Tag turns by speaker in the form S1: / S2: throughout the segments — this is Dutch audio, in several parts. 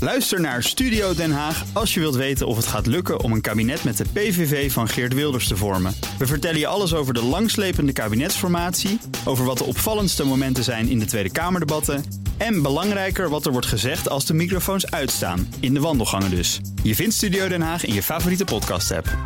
S1: Luister naar Studio Den Haag als je wilt weten of het gaat lukken om een kabinet met de PVV van Geert Wilders te vormen. We vertellen je alles over de langslepende kabinetsformatie, over wat de opvallendste momenten zijn in de Tweede Kamerdebatten en belangrijker wat er wordt gezegd als de microfoons uitstaan, in de wandelgangen dus. Je vindt Studio Den Haag in je favoriete podcast-app.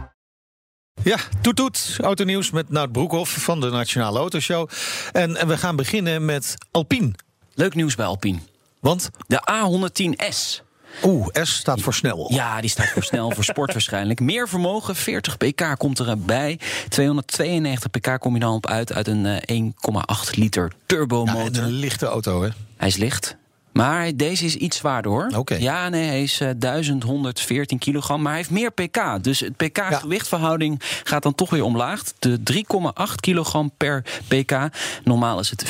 S2: Ja, toet toet. Autonieuws met Nout Broekhoff van de Nationale Autoshow. En, en we gaan beginnen met Alpine.
S3: Leuk nieuws bij Alpine.
S2: Want,
S3: De A110S.
S2: oeh, S staat voor snel.
S3: Ja, die staat voor snel, voor sport waarschijnlijk. Meer vermogen, 40 pk komt erbij. 292 pk kom je dan op uit uit een eh, 1,8 liter
S2: Ja, en
S3: turbomotor.
S2: een lichte auto, hè?
S3: Hij is licht. Maar deze is iets zwaarder hoor.
S2: Oké.
S3: Ja, nee, hij is eh, 1114 kilogram. Maar hij heeft meer pk. Dus het pk-gewichtverhouding gaat dan toch weer omlaag. De 3,8 kilogram per pk. Normaal is het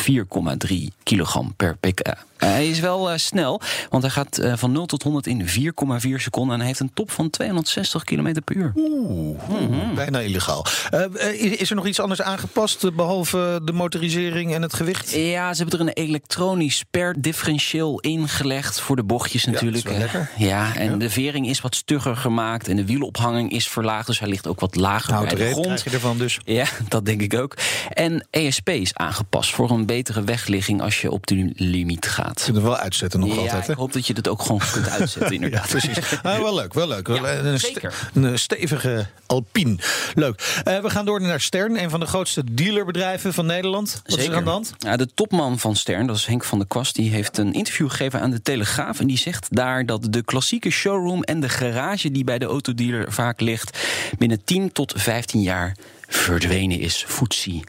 S3: 4,3 kilogram per pk. Hij is wel eh, snel, want hij gaat eh, van 0 tot 100 in 4,4 seconden. En hij heeft een top van 260 km per uur. Hmm.
S2: Bijna illegaal. Eh, eh, is- is er nog iets anders aangepast eh, behalve de motorisering en het gewicht?
S3: Ja, ze hebben er een elektronisch per differentieel ingelegd voor de bochtjes natuurlijk.
S2: dat is wel lekker.
S3: Ja, en de vering is wat stugger gemaakt en de wielophanging is verlaagd, dus hij ligt ook wat lager
S2: Hout
S3: bij de
S2: reed, Nou, krijg
S3: grond.
S2: je ervan dus.
S3: Ja, dat denk ik ook. En ESP is aangepast voor een betere wegligging als je op de limiet gaat.
S2: Je kunt hem wel uitzetten nog
S3: ja,
S2: altijd, hè?
S3: ik hoop dat je dat ook gewoon kunt uitzetten
S2: Ja,
S3: inderdaad.
S2: precies. Ah, wel leuk, wel leuk. Wel
S3: Ja,
S2: een,
S3: zeker.
S2: een stevige Alpine. Leuk. Eh, we gaan door naar Stern, een van de grootste dealerbedrijven van Nederland. Wat is er aan de hand?
S3: Ja, de topman van Stern, dat is Henk van der Kwast, die heeft een interview gegeven aan de Telegraaf. En die zegt daar dat de klassieke showroom en de garage die bij de autodealer vaak ligt, binnen 10 tot 15 jaar verdwenen is. Foetsie.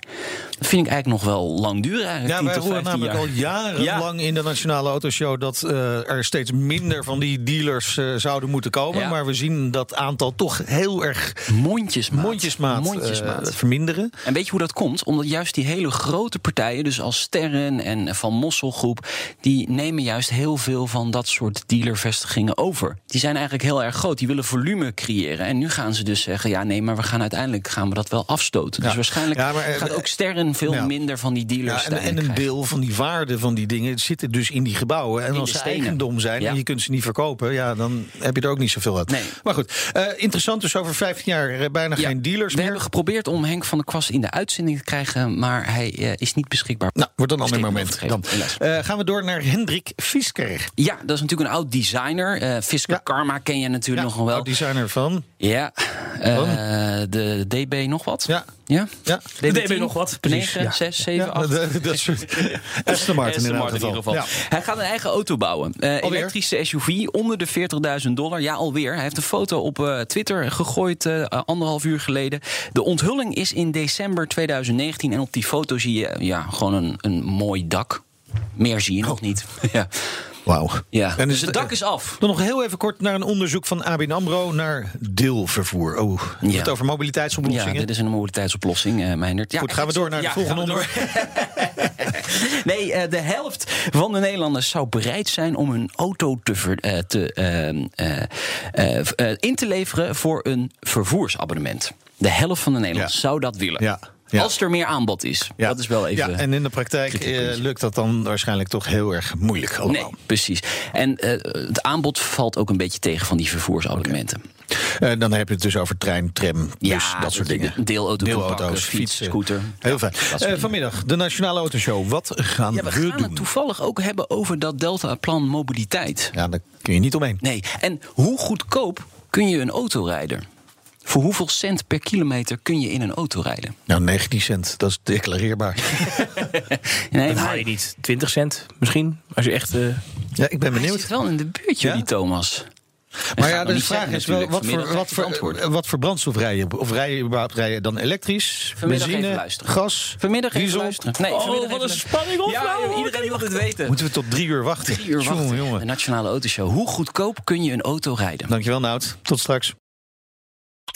S3: Dat vind ik eigenlijk nog wel lang duren. Eigenlijk,
S2: Ja,
S3: 10
S2: wij
S3: tot
S2: horen
S3: 15
S2: namelijk
S3: jaar.
S2: al jarenlang in de Nationale Autoshow... dat eh, er steeds minder van die dealers eh, zouden moeten komen.
S3: Ja.
S2: Maar we zien dat aantal toch heel erg
S3: Mondjesmaat.
S2: mondjesmaat,
S3: Mondjesmaat.
S2: eh, verminderen.
S3: En weet je hoe dat komt? Omdat juist die hele grote partijen, dus als Sterren en Van Mosselgroep, die nemen juist heel veel van dat soort dealervestigingen over. Die zijn eigenlijk heel erg groot. Die willen volume creëren. En nu gaan ze dus zeggen: ja, nee, maar we gaan uiteindelijk gaan we dat wel afstoten.
S2: Ja.
S3: Dus waarschijnlijk
S2: Ja, maar, eh,
S3: gaat ook Sterren veel
S2: ja.
S3: minder van die dealers.
S2: Ja, en,
S3: daarin
S2: en een
S3: krijgen.
S2: deel van die waarde van die dingen zitten dus in die gebouwen. En
S3: In
S2: als
S3: de
S2: ze
S3: stenen.
S2: eigendom zijn
S3: Ja.
S2: en je kunt ze niet verkopen, ja, dan heb je er ook niet zoveel uit.
S3: Nee.
S2: Maar goed, eh, interessant dus over 15 jaar eh, bijna
S3: Ja,
S2: geen dealers
S3: We
S2: meer.
S3: hebben geprobeerd om Henk van der Kwast in de uitzending te krijgen, maar hij eh, is niet beschikbaar.
S2: Nou, wordt een ander
S3: Steek hem
S2: moment. Dan.
S3: overgegeven, helaas.
S2: Eh, gaan we door naar Hendrik Fisker.
S3: Ja, dat is natuurlijk een oud designer. Eh Fisker
S2: Ja. Oh,
S3: Karma ken je natuurlijk nog wel.
S2: designer van.
S3: Ja, eh, de DB nog wat?
S2: Ja.
S3: ja?
S2: Ja.
S3: De
S4: DB nog wat, precies.
S3: 9, 6, 7,
S2: Ja,
S3: 8.
S2: dat- eh, dat soort. Aston Martin in
S3: Martin in ieder geval.
S2: Ja.
S3: Hij gaat een eigen auto bouwen. Eh, elektrische SUV onder de 40.000 dollar. Ja, alweer. Hij heeft een foto op eh, Twitter gegooid eh, anderhalf uur geleden. De onthulling is in december 2019. En op die foto zie je ja, gewoon een, een mooi dak. Meer zie je nog niet. ja.
S2: Wauw.
S3: Ja.
S2: Oh. En
S3: dus
S2: is-
S3: het dak is af.
S2: Dan nog heel even kort naar een onderzoek van ABN AMRO naar deelvervoer. Oh,
S3: Ja.
S2: het over
S3: Ja,
S2: mobiliteitsoplossingen.
S3: dit is een mobiliteitsoplossing, eh Meindert. Ja,
S2: Goed, gaan we door naar
S3: ja,
S2: het volgende
S3: gaan we
S2: onderwerp.
S3: door. nee, eh, de helft van de Nederlanders zou bereid zijn om hun auto te ver- eh, te, ehm, eh, eh, v- eh, in te leveren voor een vervoersabonnement. De helft van de Nederlanders
S2: Ja.
S3: zou dat willen.
S2: Ja, ja.
S3: Als er meer aanbod is.
S2: Ja.
S3: Dat is wel even...
S2: Ja, en in de praktijk
S3: kritiekpuntje.
S2: eh, lukt dat dan waarschijnlijk toch heel erg moeilijk
S3: Nee,
S2: allemaal.
S3: precies. En eh, het aanbod valt ook een beetje tegen van die vervoersabonnementen.
S2: Eh, dan heb je het dus over trein, tram,
S3: Ja,
S2: bus, Dus dat soort dingen.
S3: deelauto, compactors, fiets, scooter.
S2: Heel
S3: Ja,
S2: fijn.
S3: dat soort
S2: Eh,
S3: dingen.
S2: vanmiddag de Nationale Autoshow. Wat gaan
S3: Ja, we
S2: we
S3: gaan het
S2: doen?
S3: toevallig ook hebben over dat Deltaplan mobiliteit.
S2: Ja, daar kun je niet omheen.
S3: Nee, en hoe goedkoop kun je een auto rijden? Voor hoeveel cent per kilometer kun je in een auto rijden?
S2: Nou, 19 cent, dat is declareerbaar.
S3: Nee,
S4: Dat haal je niet. 20 cent misschien, als je echt... eh,
S2: ja, ik ben
S3: hij
S2: benieuwd.
S3: zit wel in de buurt,
S2: Ja?
S3: jullie Thomas.
S2: Maar
S3: gaat
S2: ja,
S3: nog
S2: de
S3: niet
S2: vraag
S3: zeggen
S2: is wel, wat
S3: natuurlijk.
S2: voor,
S3: Vanmiddag
S2: wat,
S3: krijg je
S2: voor, eh,
S3: het antwoord.
S2: wat voor brandstof rij je? Of rij je, überhaupt- rij je dan elektrisch,
S3: Vanmiddag even
S2: benzine,
S3: luisteren.
S2: gas,
S3: Vanmiddag even
S2: diesel?
S3: luisteren. Nee,
S4: oh, wat een spanning op nou,
S3: Ja, joh, iedereen wil het weten.
S2: Moeten we tot drie uur wachten?
S3: Drie uur wachten.
S2: Jongen,
S3: De
S2: jongen.
S3: Nationale Autoshow. Hoe goedkoop kun je een auto rijden?
S2: Dankjewel, Nout. Tot straks.